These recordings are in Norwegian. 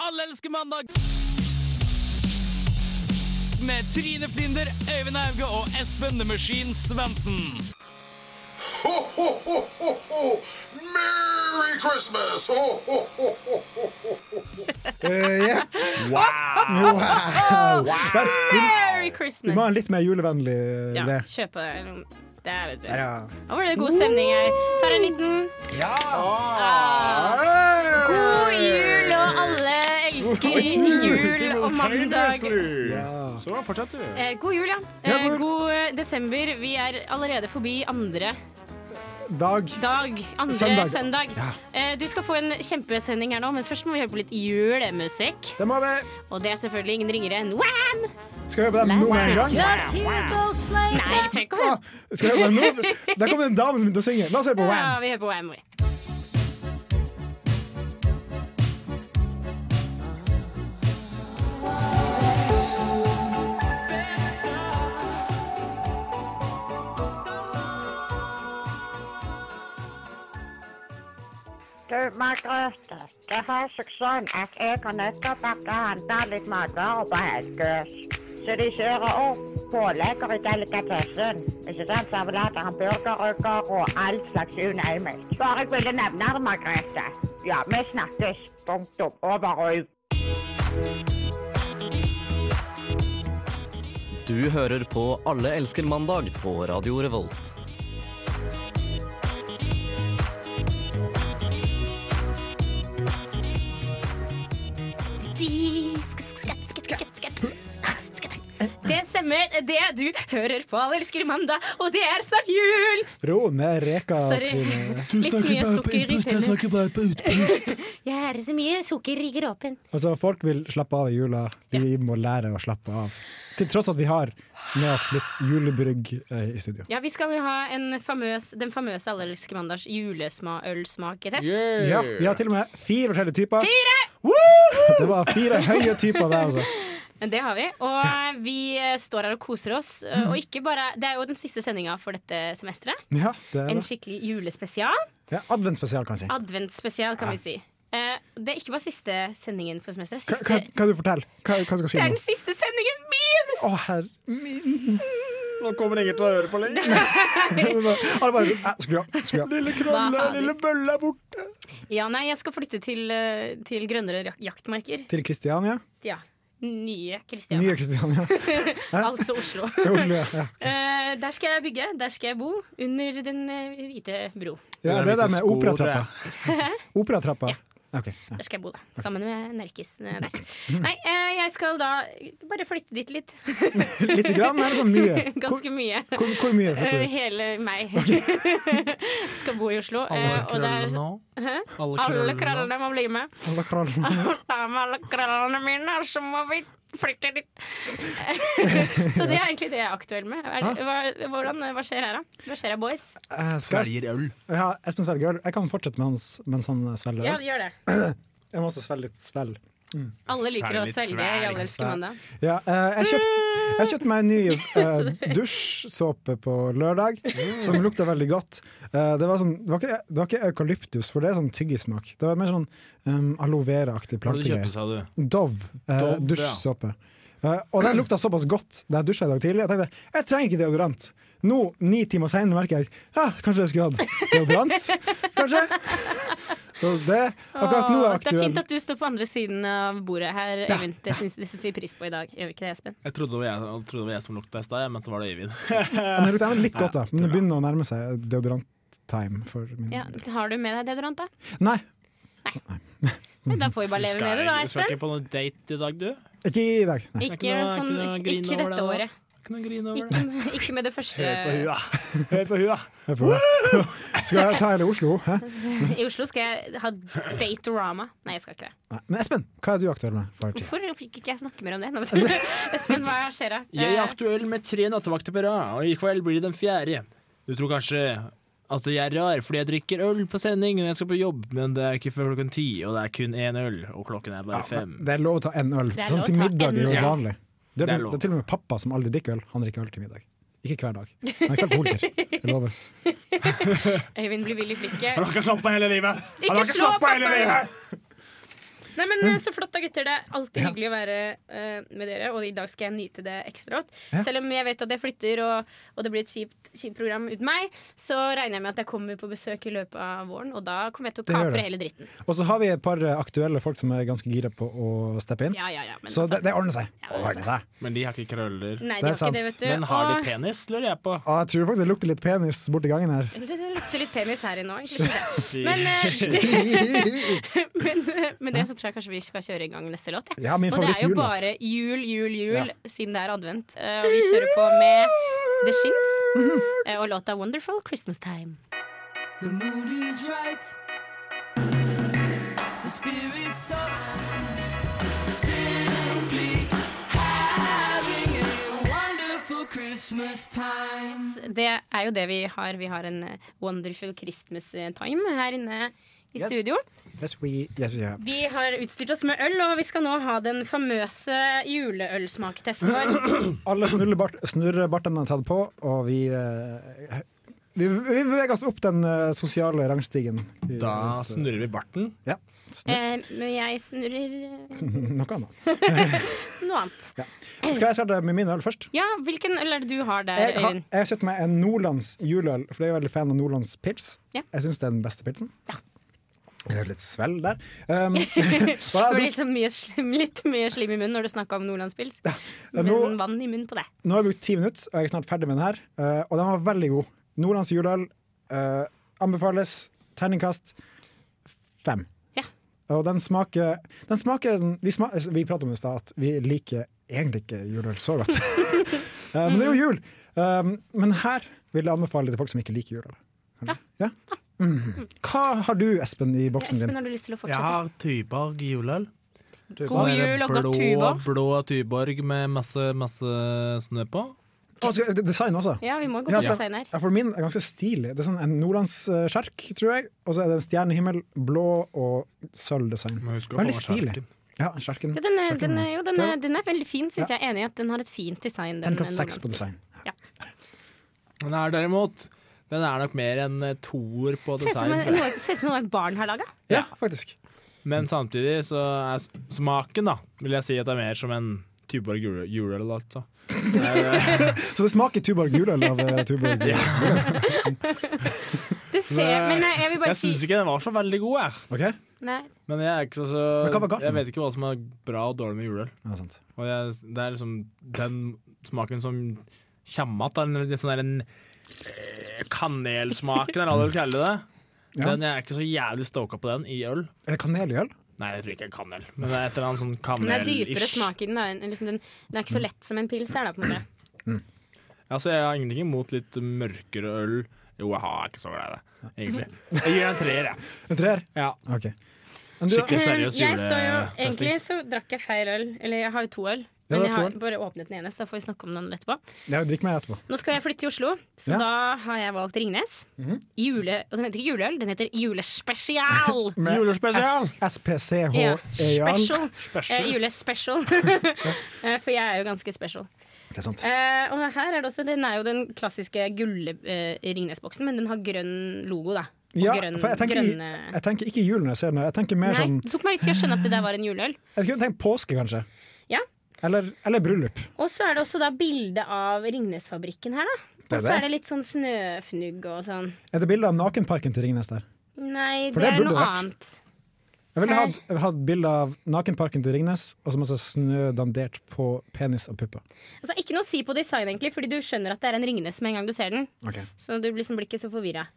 Alle elsker mandag! Med Trine Flinder, Øyvind Auge og Espen The Machine Svendsen. Ho, ho, ho, ho, ho. Merry Christmas! Ho, ho, ho, ho, ho, ho. Eh, ja. Wow! Wow. Vent, vi, Merry vi må ha Christmas! en litt mer julevennlig eh, Ja, det. kjør på det. Der, vet du. Ja. Nå var det god stemning her. Tar en liten Ah. God Eh, jul, og alle elsker jul og mandag. Ja. Så fortsett, du. Eh, god jul, ja. Ja, Eh, god jul. god eh, desember. Vi er allerede forbi andre Dag. dag. Andre Søndag. søndag. Eh, du skal få en kjempesending her nå, men først må vi høre på litt julemusikk. Det må vi. Og det er selvfølgelig ingen ringere enn Wham! Skal vi høre på den Last nå med en gang? Christmas. Nei, vi trenger ikke å høre Ah, Skal vi høre på den nå? Der kom det en dame som begynte å synge. La oss høre på Ja, Wham. vi hører på Wham. vi. Du, Margrethe, det har seg sånn at jeg og Nøtterbakke handler litt matvarer på Helgøs. Så de kjører opp pålegger i delikatessen. Ikke sant, servelater, hamburgerrygger og all slags unøymel. Bare jeg ville nevne det, Margrethe. Ja, vi snakkes. Punktum. Over oh, og ut. Du hører på Alle elsker mandag på Radio Revolt. Det stemmer, det du hører på Alle elsker mandag, og det er snart jul! Ro ned reka. Sorry. Trine. Litt mye sukker i tennene. bare på utpust. Jeg har så mye sukker i kroppen. Altså, folk vil slappe av i jula. Vi må lære å slappe av. Til tross at vi har med oss litt julebrygg eh, i studio. Ja, vi skal jo ha en famøs, den famøse Alle elsker mandags julesma-ølsmaketest. Ja, Yeah. vi har til og med fire forskjellige typer. Fire! Woohoo! Det var fire høye typer der, altså. Det har vi. Og vi eh, står her og koser oss. eh, Og ikke bare, det er jo den siste sendinga for dette semesteret. Ja, det er En det. skikkelig julespesial. Ja, adventspesial, kan jeg si. Adventspesial, kan vi si. Eh, Det er ikke bare siste sendingen for semesteret. Hva, hva, Siste, hva du forteller Hva, hva skal du si det er nå? den siste sendingen min! Å, herre min Nå kommer ingen til å høre på lenger. Alle bare eh, Skru av. Skru av. Lille Hva Krolle, faen? lille Bølle er borte. Ja, nei, jeg skal flytte til, eh, til grønnere jak- jaktmarker. Til Kristiania. Ja. Nye Nye Kristiania. Kristiania. Altså Oslo. Oslo, ja. ja. Eh, der skal jeg bygge, der skal jeg bo, under den eh, hvite bro. ja det der med operatrappa. Operatrappa. Ok. ja. Der skal jeg bo, da. Sammen med nerkisene der. Nei, eh, jeg skal da bare flytte dit litt. Lite grann, eller så mye? Hvor, Ganske mye. hvor, hvor mye? flytter Eh, du ut? Hele meg skal bo i Oslo. eh, Alle og der krøllene nå. Alle krøllene må bli med. Alle krallene. Ta med alle krøllene mine, og så må vi flytte dit. så det er egentlig det jeg er aktuell med. Er, hva, hvordan, hva skjer her, da? Hva skjer her, boys? Eh, skal jeg- Sverger øl. Ja, Espen Svelger, jeg kan fortsette med hans, mens han svelger. Ja, gjør det. Jeg må også svelge litt svelg. Alle liker å Svelg litt svelge i Alle elsker mandag. Ja, eh, jeg kjøpte jeg kjøpte meg en ny eh, dusjsåpe på lørdag, som lukta veldig godt. Eh, det, var sånn, det, var ikke, det var ikke eukalyptus, for det er sånn tyggismak. Det var mer sånn um, aloe vera-aktig Hva er det du plantegreie. kjøpte, sa du? Dove eh, Dove, ja. dusjsåpe. Eh, og den lukta såpass godt da jeg dusja i dag tidlig. Jeg tenkte, jeg trenger ikke deodorant. Nå, ni timer senere, merker jeg ah, kanskje jeg skulle hatt deodorant. Kanskje. Så det akkurat nå er Åh, det er aktuelt. fint at du står på andre siden av bordet her, Øyvind. Det, syns- det setter vi pris på i dag. Gjør vi ikke det, Espen? Jeg trodde det var jeg, jeg trodde det var jeg som lukta i stad, men så var det Øyvind. Men det lukter litt godt, da. Men det begynner å nærme seg deodorant-time. For min. Ja, har du med deg deodorant, da? Nei, Mm. Men da får vi bare leve med det, da, du skal Espen. ikke på noen date i dag, du? ikke i dag. Nei. Det er Ikke, ikke noe- sånn, ikke noe ikke, grin over dette det, da. året. Ikke noe grin over det. Ikke, ikke med det første. Hør på hua. Hør på hua. Jeg får bare- Skal jeg ta hele Oslo? Hæ? I Oslo skal jeg ha datorama. Nei, jeg skal ikke det. Nei. Men Espen, hva er du aktuell med? For tiden? Hvorfor fikk ikke jeg snakke mer om det? Nå vet du. Espen, hva skjer da? Jeg er Eh, aktuell med tre nattevakter på rad, og i kveld blir det den fjerde. Du tror kanskje at jeg er rar fordi jeg drikker øl på sending når jeg skal på jobb, men det er ikke før klokken ti, og det er kun én øl, og klokken er bare fem. Det er lov å ta en øl. er Sånn lov til å ta middag er en jo øl. vanlig. Det er, Det er det lov. er til og med pappa som aldri drikker øl. Han drikker øl til middag. Ikke hver dag. Han er ikke alkoholiker. Jeg lover. Eh, Øyvind blir vill i blikket. Han har ikke slappa hele livet! Han har Ikke ikke slå slappet hele pappa! livet! Nei, men eh, Så flott da, gutter. Det er alltid hyggelig å være eh, med dere. Og i dag skal jeg nyte det ekstra godt. Selv om jeg vet at jeg flytter, og, og det blir et kjipt, kjipt program uten meg, så regner jeg med at jeg kommer på besøk i løpet av våren, og da kommer jeg til å Det gjør kapre det. hele dritten. Og så har vi et par eh, aktuelle folk som er ganske gira på å steppe inn. Ja, ja, ja, men Så altså, det, det ordner seg. Ja, det ordner seg. Men de har ikke krøller. Nei, det er det var ikke det, sant. vet du. Men har de og, penis, lurer jeg på. Ja, jeg tror faktisk det lukter litt penis borti gangen her. det lukter litt penis her inne òg, egentlig. synes jeg. Men, eh, men eh, med det så tror jeg kanskje vi skal kjøre i gang neste låt. jeg. Ja, min og det er jo favorittjulelåt. bare jul, jul, jul Ja. siden det er advent. Eh, og vi kjører på med The Shins eh, og låta 'Wonderful Christmas Time'. The mood is right. The spirit's up. Simply having a wonderful Christmas time. Det er jo det vi har. Vi har en eh, wonderful Christmas eh, time her inne i Yes. studio. Yes, we, yes, yeah. Vi har utstyrt oss med øl, og vi skal nå ha den famøse juleølsmaketesten vår. Alle snullebart, snurrebartene er tatt på, og vi eh, vi, vi beveger oss opp den eh, sosiale rangstigen. I- Da snurrer vi barten. Ja. Snu, Eh, men jeg snurrer eh, noe annet. noe annet. Skal jeg starte med min øl først? Ja, hvilken øl er det du har der, Jeg har, Øyvind? jeg har kjøpt meg en Nordlands juleøl, for jeg er veldig fan av Nordlands pils. Ja. Jeg syns det er den beste pilsen. Jeg gjør litt svelg der. Um, så Det ble jeg, litt, sånn mye slim, litt mye slim i munnen når du snakka om Nordlandspils. nå- Med sånn vann i munnen på det. nå har jeg brukt ti minutter, og jeg er snart ferdig med den her. eh, og den var veldig god. Nordlands juleøl eh, anbefales. Terningkast fem. Ja. Og den smaker, den smaker sånn- vi, sma, vi pratet om det i stad, at vi liker egentlig ikke juleøl så godt. Eh, men det er Mm. jo jul! Um, men her vil jeg anbefale det til folk som ikke liker juleøl. Ja. Mhm. Hva har du, Espen, i boksen Espen, din? har du lyst til å Jeg fortsette? har Tyborg juleøl. God jul og godt blå, Tuborg. blå Tyborg med masse, masse snø på. Å, skal- d- design også. Ja, vi må gå Ja, på design her. Ja, for min er ganske stilig. Det er sånn En nordlandsskjerk, tror jeg. Og så er det en stjernehimmel, blå og sølvdesign. Må huske å få Veldig med stilig. skjerken. Ja, skjerken. Ja, Den er, den er, jo, den er, Det den er veldig fin, syns jeg. Enig i at den har et fint design. Den Terningkast seks på Nordlandspils. design. Den er derimot Den er nok mer en eh, toer på Ser ut som design. en- tror jeg. noe- ser ut som noe et barn har laga. Ja, faktisk. Men samtidig så er s- smaken, da, vil jeg si at det er mer som en Tuborg jule- juleøl. Altså. Så det smaker Tuborg juleøl av eh, Tuborg. Det ser, men jeg, jeg vil bare Jeg si syns ikke den var så veldig god, jeg. Ok? Ja, Nei, Men jeg er ikke så, Men hva var så garten? Jeg vet ikke hva som er bra og dårlig med juleøl. det er sant. Og jeg, det er liksom den smaken som kommer igjen. Den litt sånn der en eh, kanelsmaken, eller hva du vil kalle det. Ja. Den jeg er ikke så jævlig stoka på den i øl. Er det kanel i øl? Nei, jeg tror ikke det er kanel, men det er et eller annet sånn Den er dypere kanel-ish. smak i den. da, enn- Liksom den, den er ikke så lett som en pils her, da, på en måte. Altså, jeg har ingenting imot litt mørkere øl. Jo, jeg har ikke så glad i det, egentlig. Jeg gir en treer, jeg. En treer? Ja. Ok. Men du, Skikkelig seriøs eh, jeg står jo, Egentlig juletesting. så drakk jeg feil øl. Eller jeg har jo to øl. Ja, Men det er jeg to har øl. bare åpnet den ene, så da får vi snakke om den andre etterpå. jeg drikker meg etterpå. Nå skal jeg flytte til Oslo, så Ja. Mhm. da har jeg valgt Ringnes. Jule, og den heter ikke juleøl, den heter julespesial! Julespesial! E Ja, SPCH-EAL. special. Eh, julespecial. Eh, For jeg er jo ganske special. Det er sant. Eh, og her er det også, den er jo den klassiske gull-Ringnes-boksen, men den har grønn logo, da. Og Ja, grønn, for jeg tenker, grønne jeg tenker ikke jul når jeg ser den. her. Jeg tenker mer Nei, sånn det tok meg litt tid å skjønne at det der var en juleøl. Jeg kunne tenkt påske, kanskje. Ja. Eller, eller bryllup. Og så er det også da bilde av Ringnesfabrikken her, da. Det er Og så det. er det litt sånn snøfnugg og sånn. Er det bilde av nakenparken til Ringnes der? Nei, For det, det er burde noe vært. annet. Jeg ville Her. hatt, jeg ville hatt bilde av nakenparken til Ringnes og så masse snø dandert på penis og pupper. Altså, ikke noe å si på design, egentlig, fordi du skjønner at det er en Ringnes med en gang du ser den. Okay. Så du liksom blir ikke så forvirra.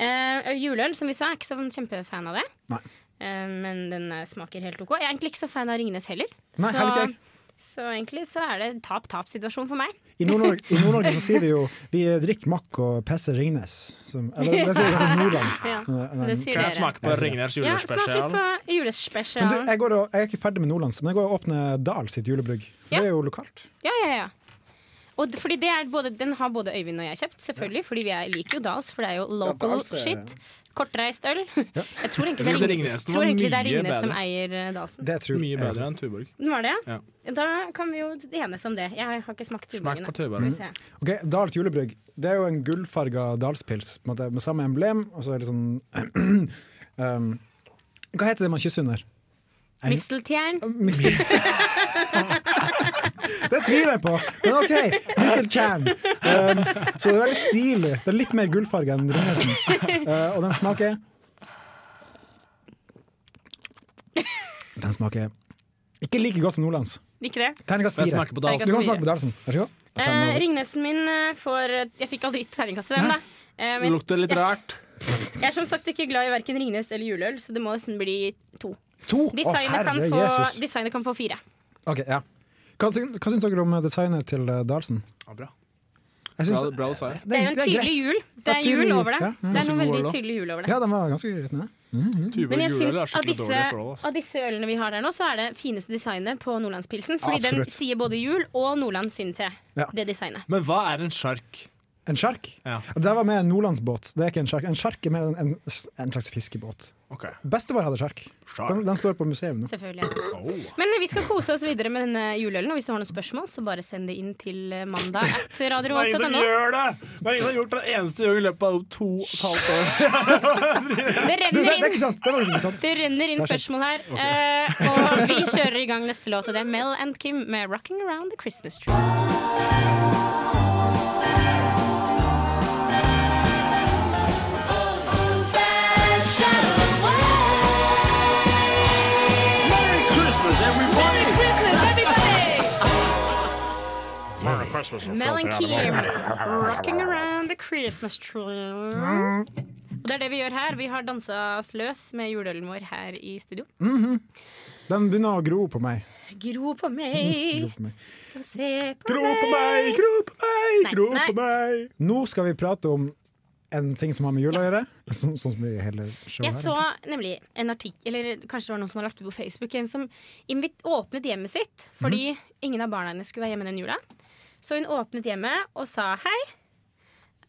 Eh, juleøl, som vi sa, er ikke sånn kjempefan av det. Nei. Eh, men den eh, smaker helt OK. Jeg er egentlig ikke så fan av Ringnes heller. Nei, så, heller ikke jeg. så egentlig så er det tap-tap-situasjon for meg. I Nord-Norge i Nord-Norge så sier vi jo 'vi drikker makk og pisser Ringnes'. Som, eller det sier vi kanskje i Nordland. Ja, Men- det men- sier Kan jeg dere. smake på Ringenes Ja, smak litt julespesial? på Men du, julespesialen. jeg, går og, jeg er ikke ferdig med Nordlands, men jeg går og åpner Dal sitt julebrygg. For Ja. det er jo lokalt. Ja, ja, ja. Og det, fordi det er både, den har både Øyvind og jeg kjøpt, selvfølgelig, fordi vi er, liker jo Dals, for det er jo local Dahls er- shit. Kortreist øl. Jeg tror egentlig det Jeg synes er Ringnes, Ringnes var tror egentlig det er mye Ringnes som bedre. eier eh, Dalsen. Det tror Mye jeg bedre også. enn Tuborg. Den var det? Ja. Da kan vi jo enes om det. Jeg har ikke smakt Smak tuborgen. da. på Tuborg. Skal vi se. Ok, Dahls julebrygg. Det er jo en gullfarga dalspils på en måte, med samme emblem, og så er det sånn um, Hva heter det man kysser under? Mm. Misteltjern. Mistel... det tviler jeg på, men OK. Misteltjern. Um, så det er veldig stilig. Det er litt mer gullfarge enn Ringesen. Uh, og den smaker Den smaker ikke like godt som Nordlands. Ikke det? Terningkast Men jeg fire. smaker på Du Dals. Terningkast- kan smake på Dalsen. Vær så god. Eh, Ringnesen min eh, får Jeg fikk aldri gitt terningkast til den, da. Eh, Det men lukter litt jeg, rart. jeg er som sagt ikke glad i verken Ringnes eller juleøl, så det må nesten bli to. To! Å, Designet, kan, herre få, Jesus. designet kan få fire. Ok, ja. Hva, syn- hva syns dere om designet til eh, Dalsen? Ja, bra. Jeg Bra, syns- bra design. Det er jo en det er tydelig jul. Det er tydelig er jul jul. over det. Ja, ja. Det er noe Ganske god øl, veldig da. tydelig jul over det. Ja, den var ganske grønne. Men Tuborg jeg juleøl syns er av skikkelig altså. disse, dårlig for alle. ass. av disse ølene vi har der nå, så er det fineste designet på Nordlandspilsen. Fordi Absolutt. den sier både jul og Nordland sin te. Ja. Det designet. Men hva er en sjark? En sjark? Ja. Det var med en nordlandsbåt. Det er ikke en sjark. En sjark er mer en, en, en slags fiskebåt. Ok. Bestefar hadde sjark. Sjark. Den, den står på museet nå. Selvfølgelig. Men vi skal kose oss videre med denne juleølen. Og hvis du har noen spørsmål, så bare send det inn til eh, mandag at Det er ingen som radio8.no. gjør det! Det er ingen som har gjort det eneste gang i løpet av to og et halvt år. Det Du, det, renner det er inn. ikke sant! Det var liksom ikke sant. Det renner inn Det er spørsmål her. eh, og vi kjører i gang neste låt, og det er Mel and Kim med 'Rocking Around the Christmas Tree'. Mel and Kim, 'Rocking Around the Christmas Tree'. Og det er det vi gjør her. Vi har dansa oss løs med juleølen vår her i studio. Den begynner å gro på meg. Gro på Gro meg, på meg, og se på Mm. gro på meg! Gro på meg! Nei, Gro nei. på meg! Nå skal vi prate om en ting som har med jul å gjøre. Sånn, sånn som vi hele Jeg showet så her. nemlig en artikkel, eller kanskje det var noen som har lagt det på Facebook, en som invit, åpnet hjemmet sitt Mhm. fordi ingen av barna hennes skulle være hjemme den jula. Så hun åpnet hjemmet og sa hei.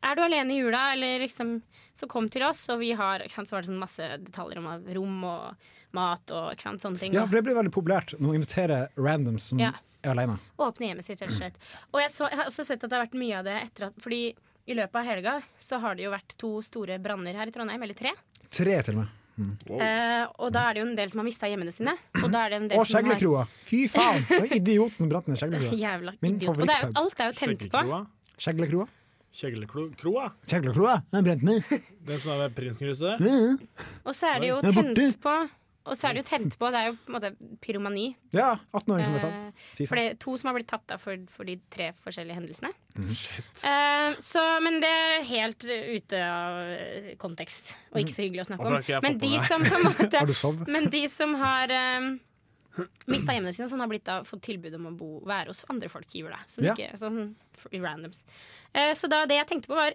Er du alene i jula, eller liksom Så kom til oss, og vi har ikke sant, Så var det sånn masse detaljer om av rom og mat og ikke sant, sånne ting. Ja, for det blir veldig populært når man inviterer randoms som Ja. er alene. Åpne hjemmet sitt, rett og slett. Og jeg, så, jeg har også sett at det har vært mye av det etter at Fordi i løpet av helga så har det jo vært to store branner her i Trondheim, eller tre. Tre, til og med. Eh, og da er det jo en del som har mista hjemmene sine. Og da er det en del Og som har skjeglekroa! Fy faen! Det var idioten som brant ned skjeglekroa. Jævla Min idiot. Og det er jo, favorittklubb. alt er jo tent på. Skjeglekroa? Skjeglekroa? Kjeglekroa? Skjeglekroa! Den brente ned. Den som er ved Prinsgruset? Mhm. Og så er det jo Den er borte. tent på. Og så er det jo tent på. Det er jo på en måte pyromani. Ja, 18-åring som ble tatt. Eh, Fy for faen. det er to som har blitt tatt da for, for de tre forskjellige hendelsene. Mhm. Eh, så, men det er helt ute av eh, kontekst, og ikke så hyggelig å Og snakke så har om. Altså, ikke jeg Men fått de med meg. som på en måte Har du sovet? Men de som har um, mista hjemmene sine, og sånn har blitt da, fått tilbud om å bo, være hos andre folk i jula. Som Ja. ikke, sånn, f- randoms. Eh, så da det jeg tenkte på, var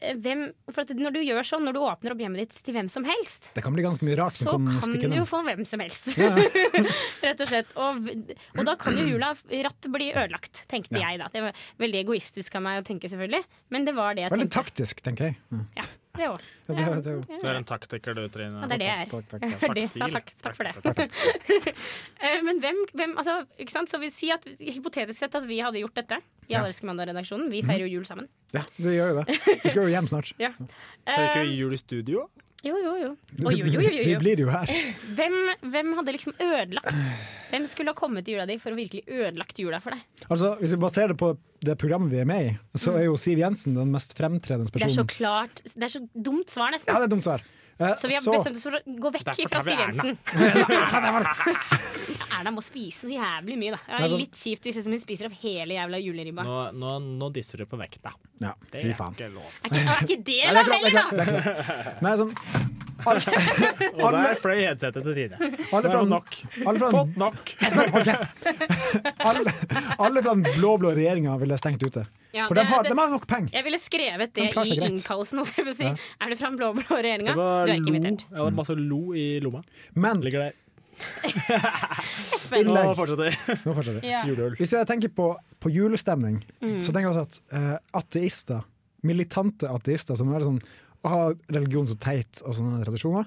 eh, hvem, for at når du gjør sånn, når du åpner opp hjemmet ditt til hvem som helst, Det kan bli ganske mye rart som så kan kan stikke du jo innom. få hvem som helst. Ja, ja. Rett og slett. Og, v- og da kan jo jula ratt bli ødelagt, tenkte jeg da. Det var veldig egoistisk av meg å tenke, selvfølgelig. Men det var det jeg Veldig tenkte. taktisk, tenker jeg. Mm. Ja. Ja, det var. Ja, det, det, det. Det er en taktiker du, Trine. Ja, det er det jeg er. Takk, takk, takk. Veldig. Ja, takk, takk for det. Eh, Men hvem, hvem altså, ikke sant? Så vi sier at hypotetisk sett at vi hadde gjort dette i Ja. Mhm. Allerske Mandag-redaksjonen. Vi feirer jo jul sammen. Ja, vi gjør jo det. Vi skal jo hjem snart. Tørker vi jul i studio? Jo, jo, jo. Og jo, jo, jo, jo, Vi jo. blir jo her. Hvem, hvem hadde liksom ødelagt? Hvem skulle ha kommet til jula di for å virkelig ødelagt jula for deg? Altså, Hvis vi baserer det på det programmet vi er med i, så er jo Siv Jensen den mest fremtredende Mm. Det er så personen. klart Det er så dumt svar, Ja, nesten. det er dumt svar. Eh, Så vi har så- bestemt oss for å gå vekk Derfor fra tar vi Siv Erna. Jensen. Ja, Erna må spise noe jævlig mye, da. Det Nei, er sånn- litt kjipt hvis det er som hun spiser opp hele jævla juleribba. Nå, nå, nå disser du på vekta. Ja, fy faen. ikke lov. Er ikke, er ikke det Nei, det da er klart, det er heller, da? klart, det er klart. Nei, sånn Og der fløy headsetet til Trine. Alle fra, Det var den- nok. alle fra, den- Fått nok! Hold kjeft! Alle, alle fra den blå-blå regjeringa ville stengt ute. Ja, For det de er- har, det- de har nok penger. Jeg ville skrevet det Den klarer i seg greit. innkallelsen. holdt jeg på å Si. Er du fra den blå-blå regjeringa? Se på Du er ikke lo. invitert. Jeg hadde masse lo i lomma. Men Ligger der. Espen. Innlegg. Nå fortsetter vi. Nå fortsetter vi. Ja. Juleøl. Hvis jeg tenker på, på julestemning, så tenker jeg også at eh, ateister, militante ateister, som er sånn å ha religion så teit og sånne tradisjoner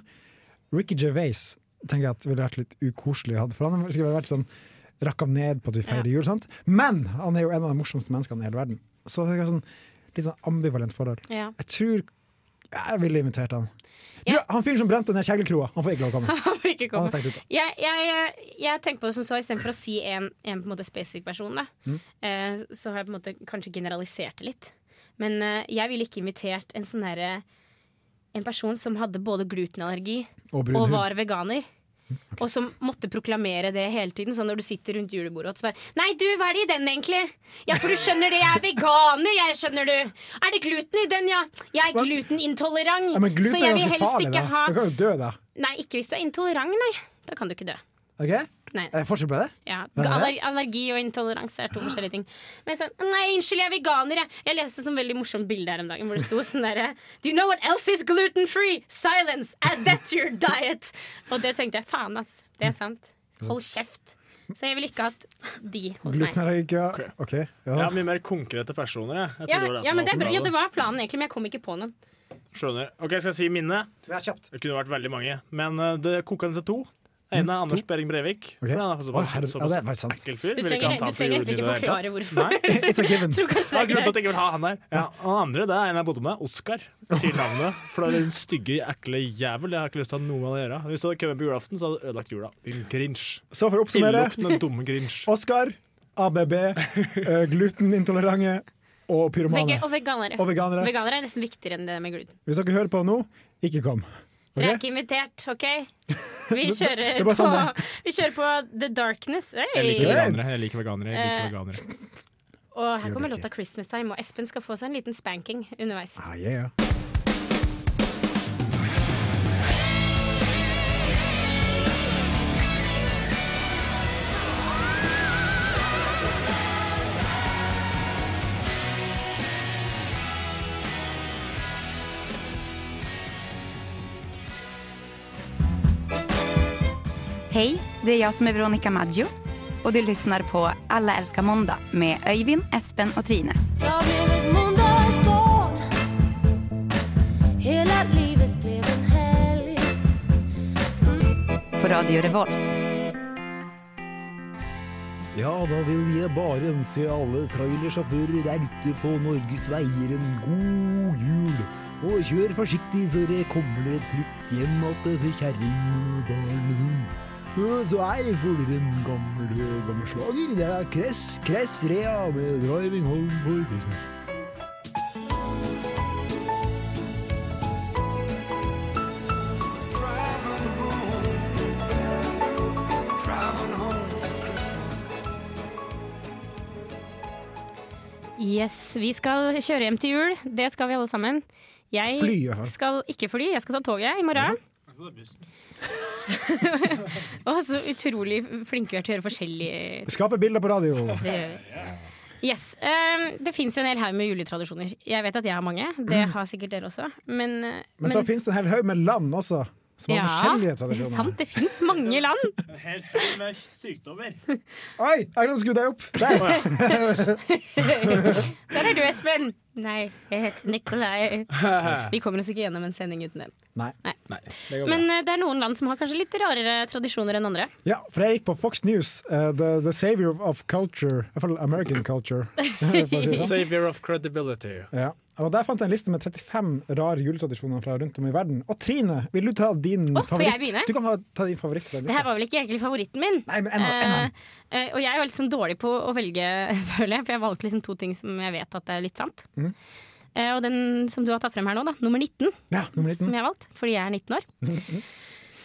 Ricky Gervais tenker jeg at ville vært litt ukoselig å ha, for han har sikkert vært sånn rakka ned på at vi feirer jul, sant? Men han er jo en av de morsomste menneskene i hele verden. Så det er sånn, litt sånn ambivalent forhold. Ja. Jeg tror jeg ville invitert han. Ja. Du, han fyren som brente ned kjeglekroa, han får ikke lov å komme. Han får ikke Han komme. er stengt ute. Jeg, jeg, jeg tenker på det som så Istedenfor å si en, en på en måte spesifikk person, da, Mm. eh, så har jeg på en måte kanskje generalisert det litt. Men eh, jeg ville ikke invitert en sånn herre En person som hadde både glutenallergi Og brun og hud. Mm, var veganer. Og som måtte proklamere det hele tiden. Sånn når du sitter rundt julebordet og så bare Nei, du, hva er det i den, egentlig? Ja, for du skjønner det, jeg er veganer, jeg, skjønner du. Er det gluten i den, ja? Jeg er glutenintolerant, Ja, men gluten så er jeg ganske vil helst farlig, da. ikke ha Du kan jo dø, da. Nei, ikke hvis du er intolerant, nei. Da kan du ikke dø. Ok? Nei. Er det forskjell på det? Ja. Eh, Hva er Aller, det? allergi og intoleranse er to forskjellige ting. Men sånn, nei, unnskyld, jeg er veganer, jeg. Jeg leste et sånn veldig morsomt bilde her om dagen hvor det sto sånn derre Do you know what else is gluten free? Silence! Add that to your diet! Og det tenkte jeg, faen, ass. Det er sant. Mm. Hold kjeft. Så jeg ville ikke hatt de hos meg. Glutenallergiker. Ok. Jeg Ja. har mye mer konkrete personer. Jeg. Jeg Ja, trodde det var ja, som men det, er bra. oppgaven. ja, det var planen, egentlig, men jeg kom ikke på noen. Skjønner. Ok, Skal jeg si minne? Ja, kjapt. Det kunne vært veldig mange. Men eh, det koka ned til to. Den ene er Anders Behring Breivik. Mm, Ok. for Han er Å, såpass, herre- ja, såpass det er faktisk sant. ekkel fyr. Du Ville ikke trenger, han ta du på trenger egentlig ikke julebordet i det forklare hele tatt. hvorfor. Nei. It's a given. Tror Det kanskje er det er grunnen til at jeg greit. ikke vil ha han der. Ja, og den andre det er en jeg bodde med, Oskar. Sier navnet. For det er den stygge, ekle jævel. Jeg har ikke lyst til å ha noe med det å gjøre. Hvis du hadde kommet på julaften, så hadde du ødelagt jula. Din grinch. Så for å oppsummere Illeluktende, dumme grinch. Oskar, ABB, eh, glutenintolerante og Vegge- pyromane. Og veganere. Og veganere. Veganere er nesten viktigere enn det med gluten. Hvis dere hører på nå, ikke kom. Ok? Dere er ikke invitert, OK? Vi det kjører, er bare sånn på, vi kjører på The Darkness. Hey! Jeg liker Hey! veganere. Jeg liker veganere. Jeg liker veganere. Og her kommer låta 'Christmas Time', og Espen skal få seg en liten spanking underveis. Ah, yeah. Hej, det är jag som är Veronica Maggio och du lyssnar på Alla älskar måndag med Öyvind, Espen och Trine. Jag blev ett måndagsbarn Hela livet blev en helg På Radio Revolt. Ja, da vil jeg bare ønske alle trailersjåfører der ute på Norges veier en god jul. Og kjør forsiktig så det kommer dere trygt hjem igjen til kjerring og barn og sånn. Og Så er for dere en gammel, gammel slager. Det er Kress, Kress Rea med 'Driving Home for Christmas'. Yes, Vi skal kjøre hjem til jul. Det skal vi alle sammen. Jeg Fly, i hvert fall. skal ikke fly, jeg skal ta toget i morgen. Og så utrolig flinke vi er til å gjøre forskjellige Skape bilder på radio. Det gjør vi. Yes. ehm, det fins jo en hel haug med juletradisjoner. Jeg vet at jeg har mange. Det har sikkert dere også. Men, eh, Mm. Men så fins det en hel haug med land også, som har forskjellige Det er sant, tradisjoner. det fins mange land. Helt høy med sykdommer. Oi, jeg glemte å skru deg opp! Der. Der er du, Espen. Nei, jeg heter Nikolai. Vi kommer oss ikke gjennom en sending uten den. Nei. Nei, det går bra. Men eh, det er noen land som har kanskje litt rarere tradisjoner enn andre. Ja, for jeg gikk på Fox News, eh, the, the savior of culture, i hvert fall American culture. for å si det sånn. Savior of credibility. Ja. Og Der fant jeg en liste med 35 rare juletradisjoner fra rundt om i verden. Og Trine, vil du ta din Å, får jeg favoritt? begynne? Du kan ha- ta din favoritt. fra den Det her var vel ikke egentlig favoritten min. Nei, men en av- en av. Eh, eh, og jeg er jo litt sånn dårlig på å velge, føler jeg, for jeg valgte liksom to ting som jeg vet at er litt sant. Mm. Eh, og den som du har tatt frem her nå, da, nummer 19, listen. Ja, nummer 19. som jeg har valgt, fordi jeg er 19 år, Mm-hmm.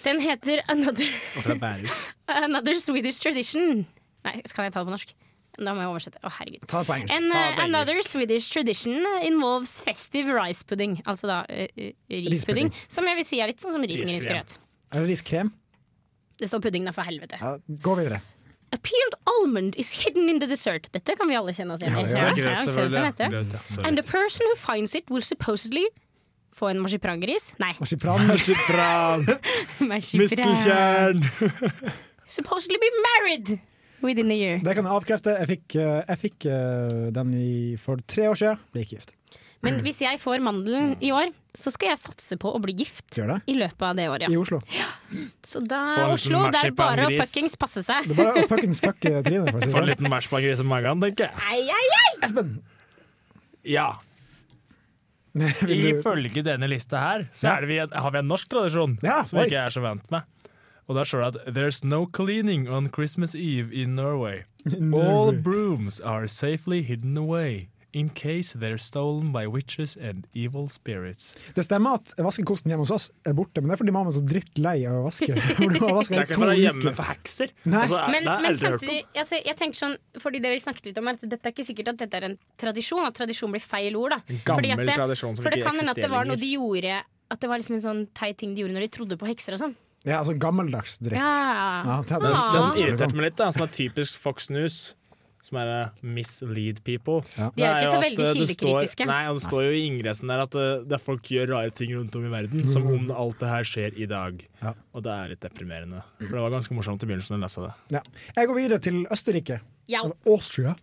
den heter Another, Fra Bærus. Another Swedish Tradition. Nei, skal jeg ta det på norsk? Da må jeg oversette. Å, herregud. Ta det på engelsk. And, Ta det uh, på another engelsk. Swedish tradition eh, involves festive rice pudding. Altså da uh, uh, rispudding. Som jeg vil si er litt sånn som risen i Riskrem. grøt. Er det riskrem? Det står pudding da, for helvete. Ja, gå videre. A peeled almond is hidden in the dessert. Dette kan vi alle kjenne oss igjen i. Ja, Ja, ja, kjenner oss igjen i dette. And the person who finds it will supposedly Få en marsipangris? Nei. Marsipran. Marsipran. Muskelkjern. Supposedly be married within a year. Det kan jeg avkrefte. Jeg fikk, eh, jeg fikk eh, den i, for tre år siden. Ble ikke gift. Men hvis jeg får mandelen i år, så skal jeg satse på å bli gift Gjør det. i løpet av det året. I Ja. Oslo. Så da Få en Oslo, liten det er bare å marsipangris. fuckings passe seg. Det er bare å fuckings fucke Trine. for å si det Få en sånn. liten marsipangris i magen, tenker jeg. Ei, ei, ei! Espen! Ja. Vil du- Ifølge denne lista her, så Ja. er det vi en, har vi en norsk tradisjon Ja, som oi. vi ikke er så vant med. Og der står det at There's no cleaning on Christmas Eve in Norway. All brooms are safely hidden away. In case they're stolen by witches and evil spirits. Det stemmer at vaskekosten hjemme hos oss er borte, men det er fordi mamma er så drittlei av å vaske. For nå har vasket i to uker. for hekser. Nei. Men, men samtidig, altså, jeg tenker sånn, fordi det vi snakket litt om, er at dette er ikke sikkert at dette er en tradisjon, at tradisjon blir feil ord. Da. gammel Fordi at det, tradisjon som For det ikke kan hende at det eksisterer var noe lenger. de gjorde At det var liksom en sånn teit ting de gjorde når de trodde på hekser og sånn. Ja, altså gammeldags dritt. Ja. Ja, det, sånn. Det Ah. som irriterte meg litt, da, som er typisk Fox News, som er eh, mislead people De er jo ikke så veldig eh, det kildekritiske. Står, nei, og det står jo i ingressen der at eh, det er folk gjør rare ting rundt om i verden, som om alt det her skjer i dag. Mm. Ja. Og det er litt deprimerende. For det var ganske morsomt i begynnelsen å lese det. Ja. Jeg går videre til Østerrike. Ja. Eller Austria.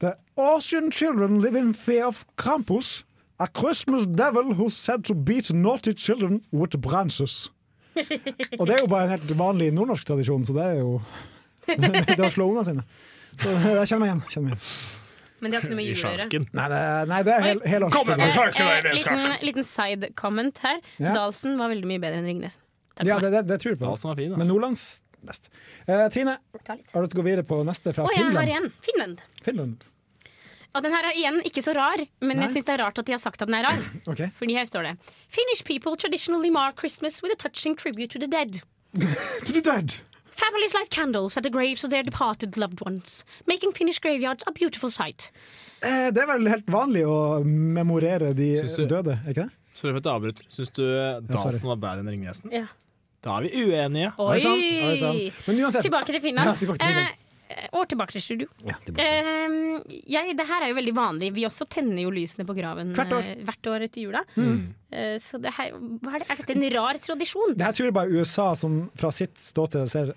The Austrian children live in fear of Krampus, a Christmas devil who's said to beat naughty children with branches. Og det er jo bare en helt vanlig nordnorsk tradisjon, så det er jo Det er å slå ungene sine. Så eh, Jeg kjenner meg igjen. Kjenner meg igjen. Men det har ikke noe med I jul å gjøre. sjarken. Nei, det, nei, det er hel, Eh, helårstradisjon. eh, liten, liten side comment her. Ja. Dahlsen var veldig mye bedre enn Ringnes. Takk Ja, for meg. det, det, det tror jeg Ja, på. som var fin, da. Men Nordlands best. Eh, Trine, Ta litt. har du lyst til å gå videre på neste fra Å, jeg har Finland? igjen. Finland. Finland. Og den her er igjen ikke så rar, men Nei. jeg syns det er rart at de har sagt at den er rar. Ok. Fordi her står det Finnish people traditionally mark Christmas with a touching tribute to the dead. To the dead! Families light candles at the graves of their departed loved ones, making Finnish graveyards a beautiful sight. Eh, det er vel helt vanlig å memorere de Syns du- døde, er ikke det? Sorry for at jeg avbryter. Syns du sorry. Dahlsen var bedre enn Ringnesen? Ja. Da er vi uenige. Oi! Oi sann! Oi sann. Men uansett, Tilbake til Finland. Ja, tilbake til Finland. Eh, og tilbake til studio. Ja, Eh, jeg, det her er jo veldig vanlig. Vi også tenner jo lysene på graven Hvert år. Mm. eh, hvert år etter jula. Eh, så det her, hva er, det, er dette en rar tradisjon? det er- her tror jeg bare USA som fra sitt ståsted ser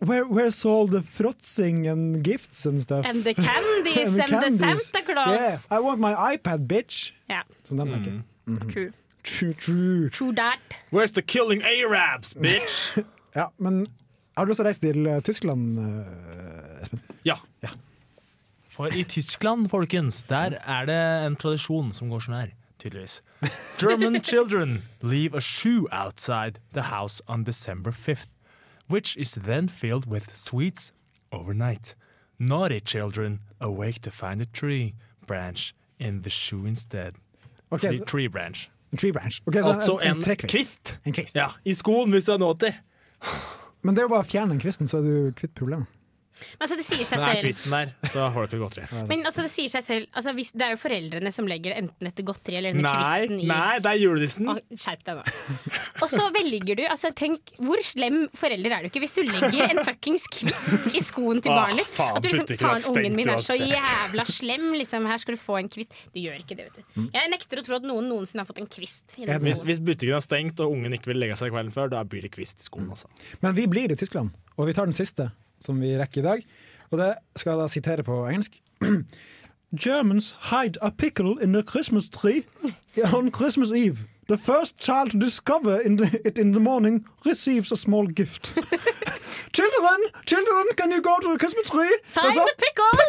Where, Where's all the frotzing and gifts and stuff? And the candies And and, the candies. Santa Claus. Yeah, I want my iPad, bitch! Ja, Som de tenker. Mm. true. True, true. True that. Where's the killing arabs, bitch? Ja, men har du lyst til å reise til eh, Tyskland, eh, Espen? Ja. For i Tyskland, folkens, der er det en tradisjon som går sånn her, tydeligvis. German children leave a shoe outside the house on December 5th, which is then filled with sweets overnight. Naughty children awake to find a tree branch in the shoe instead. Ok, The så, tree branch. tree branch. Ok, så Altså en, trekvist. kvist. En kvist. Ja, I skoen, hvis du er naughty. Men det er jo bare å fjerne den kvisten, så er du kvitt problemet. Men altså, det sier seg Den er selv. kvisten der, så har du ikke godteri. Men altså, det sier seg selv altså, hvis, Det er jo foreldrene som legger enten etter godteri eller denne Nei, kvisten i nei, det er julenissen. Å, Skjerp deg nå. Og så velger du altså tenk, Hvor slem forelder er du ikke hvis du legger en fuckings kvist i skoen til Åh, barnet ditt? faen, At du liksom, butikken har faen, ungen min er så stengt jævla slem, liksom. Her skal du få en kvist. Du gjør ikke det, vet du. Jeg nekter å tro at noen noensinne har fått en kvist. I den Mm. Hvis, skoen. hvis butikken er stengt og ungen ikke vil legge seg kvelden før, da blir det kvist i skoen. Altså. Men vi blir i Tyskland, og vi tar den siste som vi rekker i dag. Og det skal jeg da sitere på engelsk. Germans hide a pickle in the Christmas tree on Christmas Eve. The first child to discover in the, it in the morning receives a small gift. children, children, can you go to the Christmas tree? Find There's a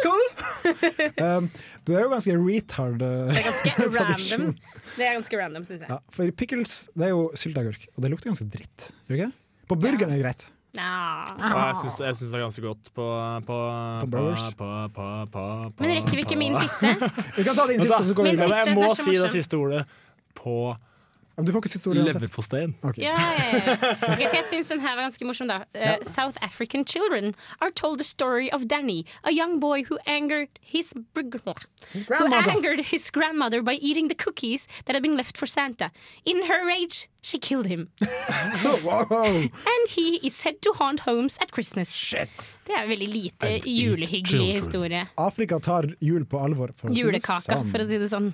the pickle! pickle! um, det er jo ganske retard. Uh, Det er ganske random. Det er ganske random, syns jeg. ja, for pickles det er jo sylteagurk, og det lukter ganske dritt. Gjør det ikke? det? På burgeren er det greit. Ja. Og jeg syns, jeg syns det er ganske godt på På, på, Brewers. på, på, på, på Men rekker vi ikke min siste? Vi kan ta din siste, så går vi Min Men videre. siste, jeg den må er så si det morsom. siste ordet. På Men Du får ikke siste ordet uansett. leverposteien. Ja, ja, ja. Ok, for jeg syns den her var ganske morsom, da. Eh, South African children are told the story of Danny, a young boy who angered his, br- who grandmother. angered his grandmother by eating the cookies that had been left for Santa. In her rage, she killed him. wow. And he is said to haunt homes at Christmas. Det er en veldig lite And eat julehyggelig children. historie. Afrika tar jul på alvor. For å si det Julekaka, sånn. for å si det sånn.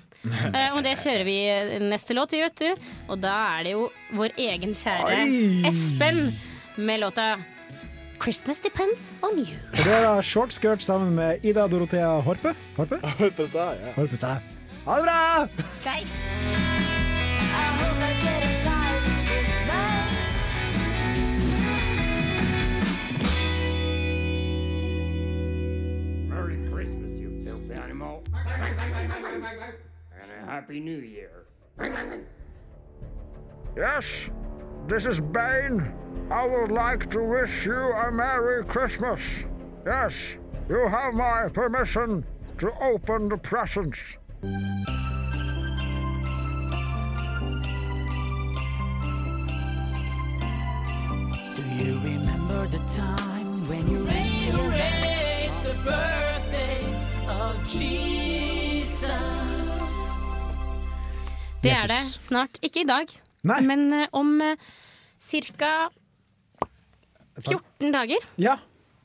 Eh, og det kjører vi eh, neste låt, vi, vet du. Og da er det jo vår egen kjære Oi. Espen med låta 'Christmas Depends On You'. Og Det er da Short Skirt sammen med Ida Dorothea Horpe. Horpe? Hørpestad, ja. Horpestad. Ha det bra! I hope I get a tie this Christmas. Merry Christmas, you filthy animal. And a Happy New Year. Yes, this is Bane. I would like to wish you a Merry Christmas. Yes, you have my permission to open the presents. Do you remember the time when you Hooray, hooray, it's the birthday of Jesus? Det Jesus. er det. Snart. Ikke i dag, Nei. men eh, om ca. 14 dager. Ja,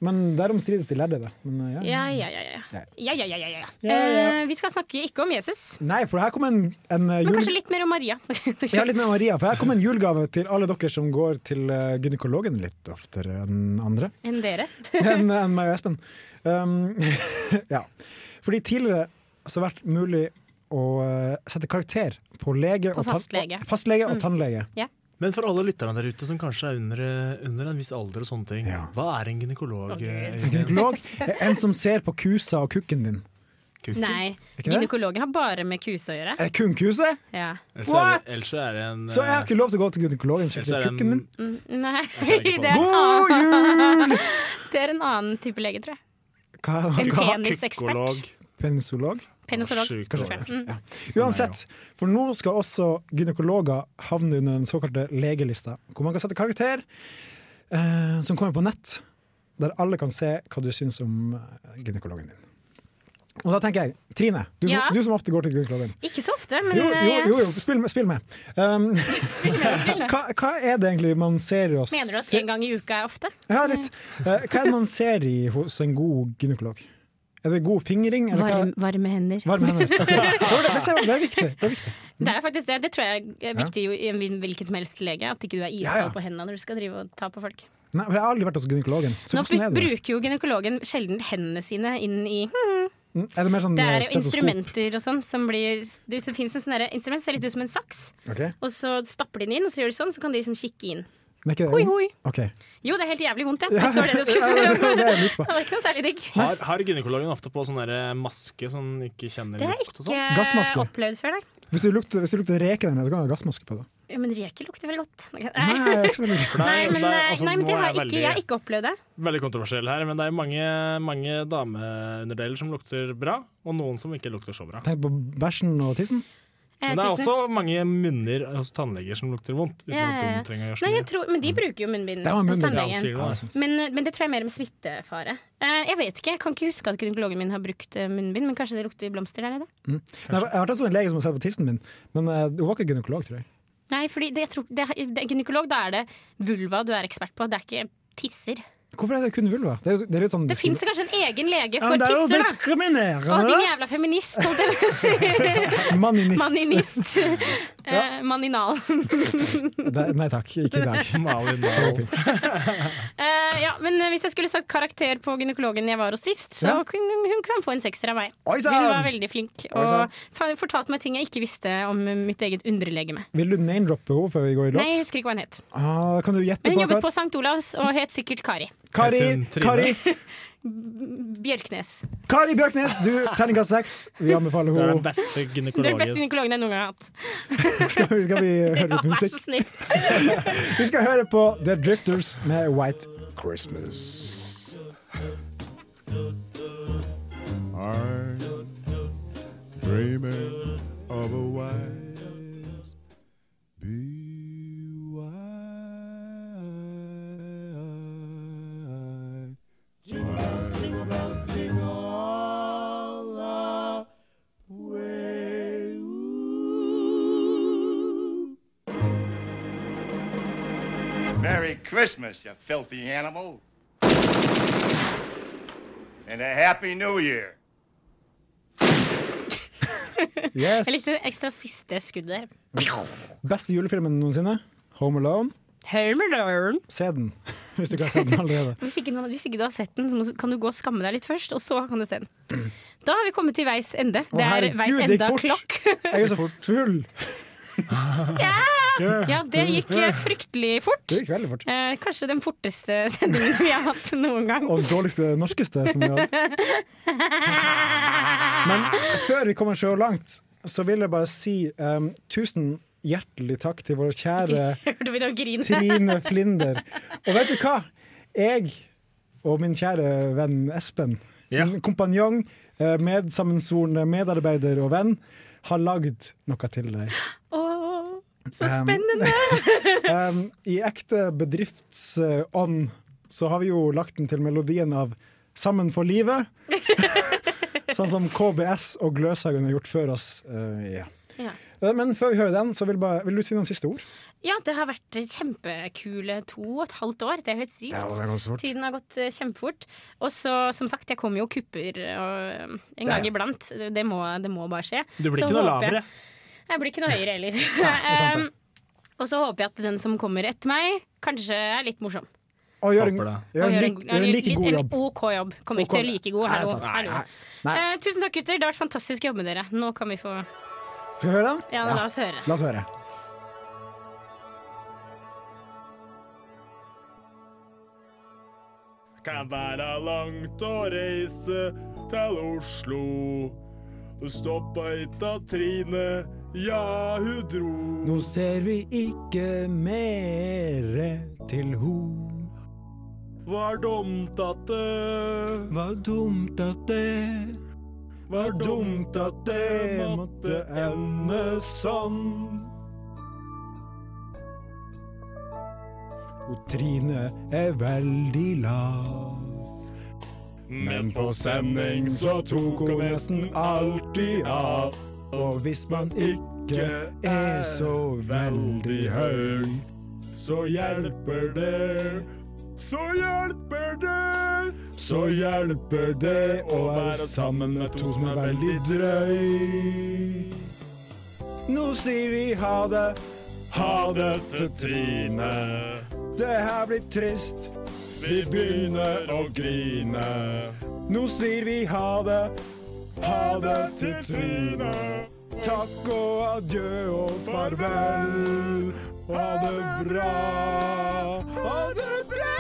men derom strides de lærde, da. Men, eh, Ja, ja, ja. ja. Nei. Ja, ja, ja, ja, ja. Ja, ja. Eh, vi skal snakke ikke om Jesus, Nei, for her kom en, en eh, men jule... kanskje litt mer om Maria. Ja, litt med Maria, for her kom en julegave til alle dere som går til eh, gynekologen litt oftere enn andre. Enn dere. enn enn meg og Espen. Um, ja. Fordi tidligere så har det vært mulig å eh, sette karakter på lege og, På tan- fastlege. og, fastlege og Mm. tannlege. Men for alle lytterne der ute som kanskje er under, under en viss alder og sånne ting, hva er en gynekolog? eh, Jørgen? Gynekolog er en som ser på kusa og kukken din. Nei, Ikke det? gynekologen har bare med kuse å gjøre. Er det kun kuse? Ja. Ellers er What?! det- Ellers er det en Så jeg har eh, ikke lov til å gå til gynekologen og Ellers er sjekke det en- kukken min? Mm, Nei, jeg det ikke på. er, en God annen- det er en annen type lege, tror jeg. Hva- En hva- penisekspert. Gynekolog. Penisolog? Penisolog. Sjukt Kanskje. dårlig. Mm. Ja. Uansett, for nå skal også gynekologer havne under den såkalte legelista, hvor man kan sette karakter eh, som kommer på nett, der alle kan se hva du syns om eh, gynekologen din. Og da tenker jeg, Trine, du som, Ja. du som ofte går til gynekologen. Ikke så ofte, men Jo, jo, eh, jo, jo spill med. Spill med. Um, hva, hva er det egentlig man ser i oss mener du at se- en gang i uka er ofte? Ja, litt. Eh, Hva er det man ser i hos en god gynekolog? Er det god fingring? eller hva- Varm, varme hender. Varme hender. ok. Jo, Det, det ser jeg- det er viktig. Det er viktig. Det er faktisk det. Det tror jeg er Ja. viktig jo i en hvil- hvilken som helst lege. At ikke du er Ja, iskald ja. på hendene når du skal drive og ta på folk. Nei, for Jeg har aldri vært hos gynekologen. Så Nå hvordan er det? bruker jo gynekologen sjelden hendene sine inn i Mm, Er det mer sånn Det er jo stetoskop? instrumenter og sånn som blir Det finnes en sånn derre instrument som ser litt ut som en saks. Ok. Og så stapper de den inn, og så gjør de sånn, så kan de liksom kikke inn. Men ikke det- Hoi, hoi. Ok. Jo, det er helt jævlig vondt, ja. Ja, Hvis det var det du skulle ja, spørre det om. Det er jeg lurt på. var ikke noe særlig digg. Har, har gynekologen ofte på sånn der maske som ikke kjenner Det har jeg lukt og sånn? ikke Gassmaske. opplevd før, nei. Hvis du lukter, hvis du lukter reke der nede, så kan du ha gassmaske på det. Ja, Men reker lukter vel godt. Nei, Nei, ikke så veldig godt. Nei, men, Nei, eh, altså, nei, men det nå har er jeg jeg ikke, jeg har ikke opplevd det. Veldig kontroversiell her, men det er mange, mange dameunderdeler som lukter bra, og noen som ikke lukter så bra. Tenk på bæsjen og tissen. Eh, Men det er også mange munner hos tannleger som lukter vondt. Uten Ja, at ja, ja. de trenger å gjøre så Nei, mye. Mm. jeg tror, men de bruker jo munnbind Det var hos munnbind, ja, tannlegen. sier du det, ja, sant. men, men det tror jeg er mer med smittefare. Eh, jeg vet ikke, jeg kan ikke huske at gynekologen min har brukt eh, munnbind, men kanskje det lukter blomster der nede? Mm. Nei, jeg har hatt en lege som har sett på tissen min, men eh, hun var ikke gynekolog, tror jeg. Nei, fordi det, jeg tror, det, det, gynekolog, da er det vulva du er ekspert på, det er ikke tisser. Hvorfor er det kun vulva? Det, er, jo- det, er litt sånn Det fins kanskje en egen lege Ja, for men det er jo tisser, da! Å, diskriminerende. din jævla feminist, holdt jeg på å si. Manninist. Manninist. Eh, Manninal. Det- Nei takk, ikke i dag. Malin, Eh, ja, men hvis jeg skulle sagt karakter på gynekologen jeg var hos sist, så Ja. kunne hun kan få en sekser av meg. Oi, sann! Hun var veldig flink Oi, sann. og fa- fortalte meg ting jeg ikke visste om eh, mitt eget underlegeme. Vil du name-droppe henne før vi går i Nei, jeg låt? husker ikke hva hun het. Ah, kan du gjette Men hun på jobbet hva? på St. Olavs og het sikkert Kari. Kari, Kari, Bjørknes. Kari Bjørknes, du, terningkast seks. Vi anbefaler Det er henne. den beste Det er den beste gynekologen. gynekologen jeg noen gang har hatt. Skal vi, skal vi høre Ja, litt vær så musikk? snill. Vi skal høre på The Drifters med White Christmas. I'm dreaming of a wise be wise, wise, all the way. Ooh. Merry Christmas, you filthy animal. And a Happy New Year. Yes. Jeg likte det ekstra siste skuddet der. Beste julefilmen noensinne? Home Alone. Home Alone. Se den, hvis du ikke har sett den allerede. Hvis ikke, noen- hvis ikke du har sett den, så må- kan du gå og skamme deg litt først, og så kan du se den. Da har vi kommet til veis ende. Det er herregud, veis det gikk enda fort. klokk. Jeg er så full. Ja, det gikk eh, fryktelig fort. Det gikk veldig fort. Eh, kanskje den forteste sendingen vi har hatt noen gang. Og dårligste norskeste som vi hadde. Men før vi kommer så langt, så vil jeg bare si em, tusen hjertelig takk til vår kjære Hørte vi da grine? Trine Flinder. Og vet du hva? Jeg og min kjære venn Espen, min kompanjong, eh, medsammensvorne medarbeider og venn, har lagd noe til deg. Åh, så Um, spennende! Um, I ekte bedriftsånd så har vi jo lagt den til melodien av Sammen for livet. sånn som KBS og Gløshaugen har gjort før oss. Eh, ja. Ja. Eh, Men før vi hører den, så vil, bare, vil du si noen siste ord? Ja, det har vært kjempekule to og et halvt år. Det er jo helt sykt. Ja, det har gått fort. Tiden har gått eh, kjempefort. Og så, som sagt, jeg kommer jo og kupper og, eh, en gang iblant. Det må, det må bare skje. Du blir Så ikke noe håper jeg- lavere. Jeg blir ikke noe høyere heller. er sant, det. Um, og så håper jeg at den som kommer etter meg, kanskje er litt morsom. Og gjør en, Håper det. gjør Og en, gjør en lik, god- gjør en like god jobb. En OK jobb. Kommer ikke til å OK. like god. Nei, Hallo. sant. hallo. Nei, nei. Eh, tusen takk, gutter. Det har vært fantastisk jobb med dere. Nå kan vi få Skal vi høre den? Ja, la oss høre. La oss høre. kan være langt å reise til Oslo. Du stoppa ikke Trine, ja, hun dro. Nå ser vi ikke mere til ho. Var dumt at det Var dumt at det Var dumt at det måtte ende sånn. Og Trine er veldig lav. Men på sending så tok hun nesten alltid av. Og hvis man ikke er så veldig høy, så hjelper det. Så hjelper det, Så hjelper det å være sammen med to som er veldig drøy. Nå sier vi ha det. ha det til Trine. Det her blir trist. Vi begynner å grine. Nå sier vi ha det. Ha det til Trine. Takk og adjø og farvel. Ha det bra. Ha det bra.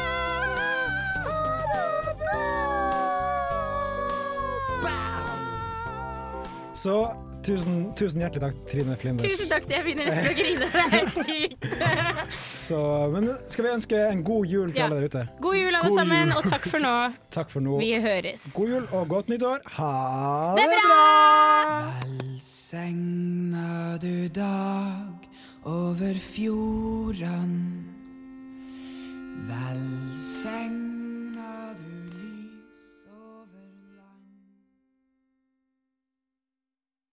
Så tusen, tusen hjertelig takk, Trine Flinder. Tusen takk. Jeg begynner nesten å grine. Det er helt sykt. Så, men skal vi ønske en god jul til Ja. alle der ute? God jul, alle God sammen, jul. og takk for nå. Takk for nå. Vi høres. God jul og godt nyttår. Ha Det det er bra! bra! Velsigna du dag over fjorden. Velsigna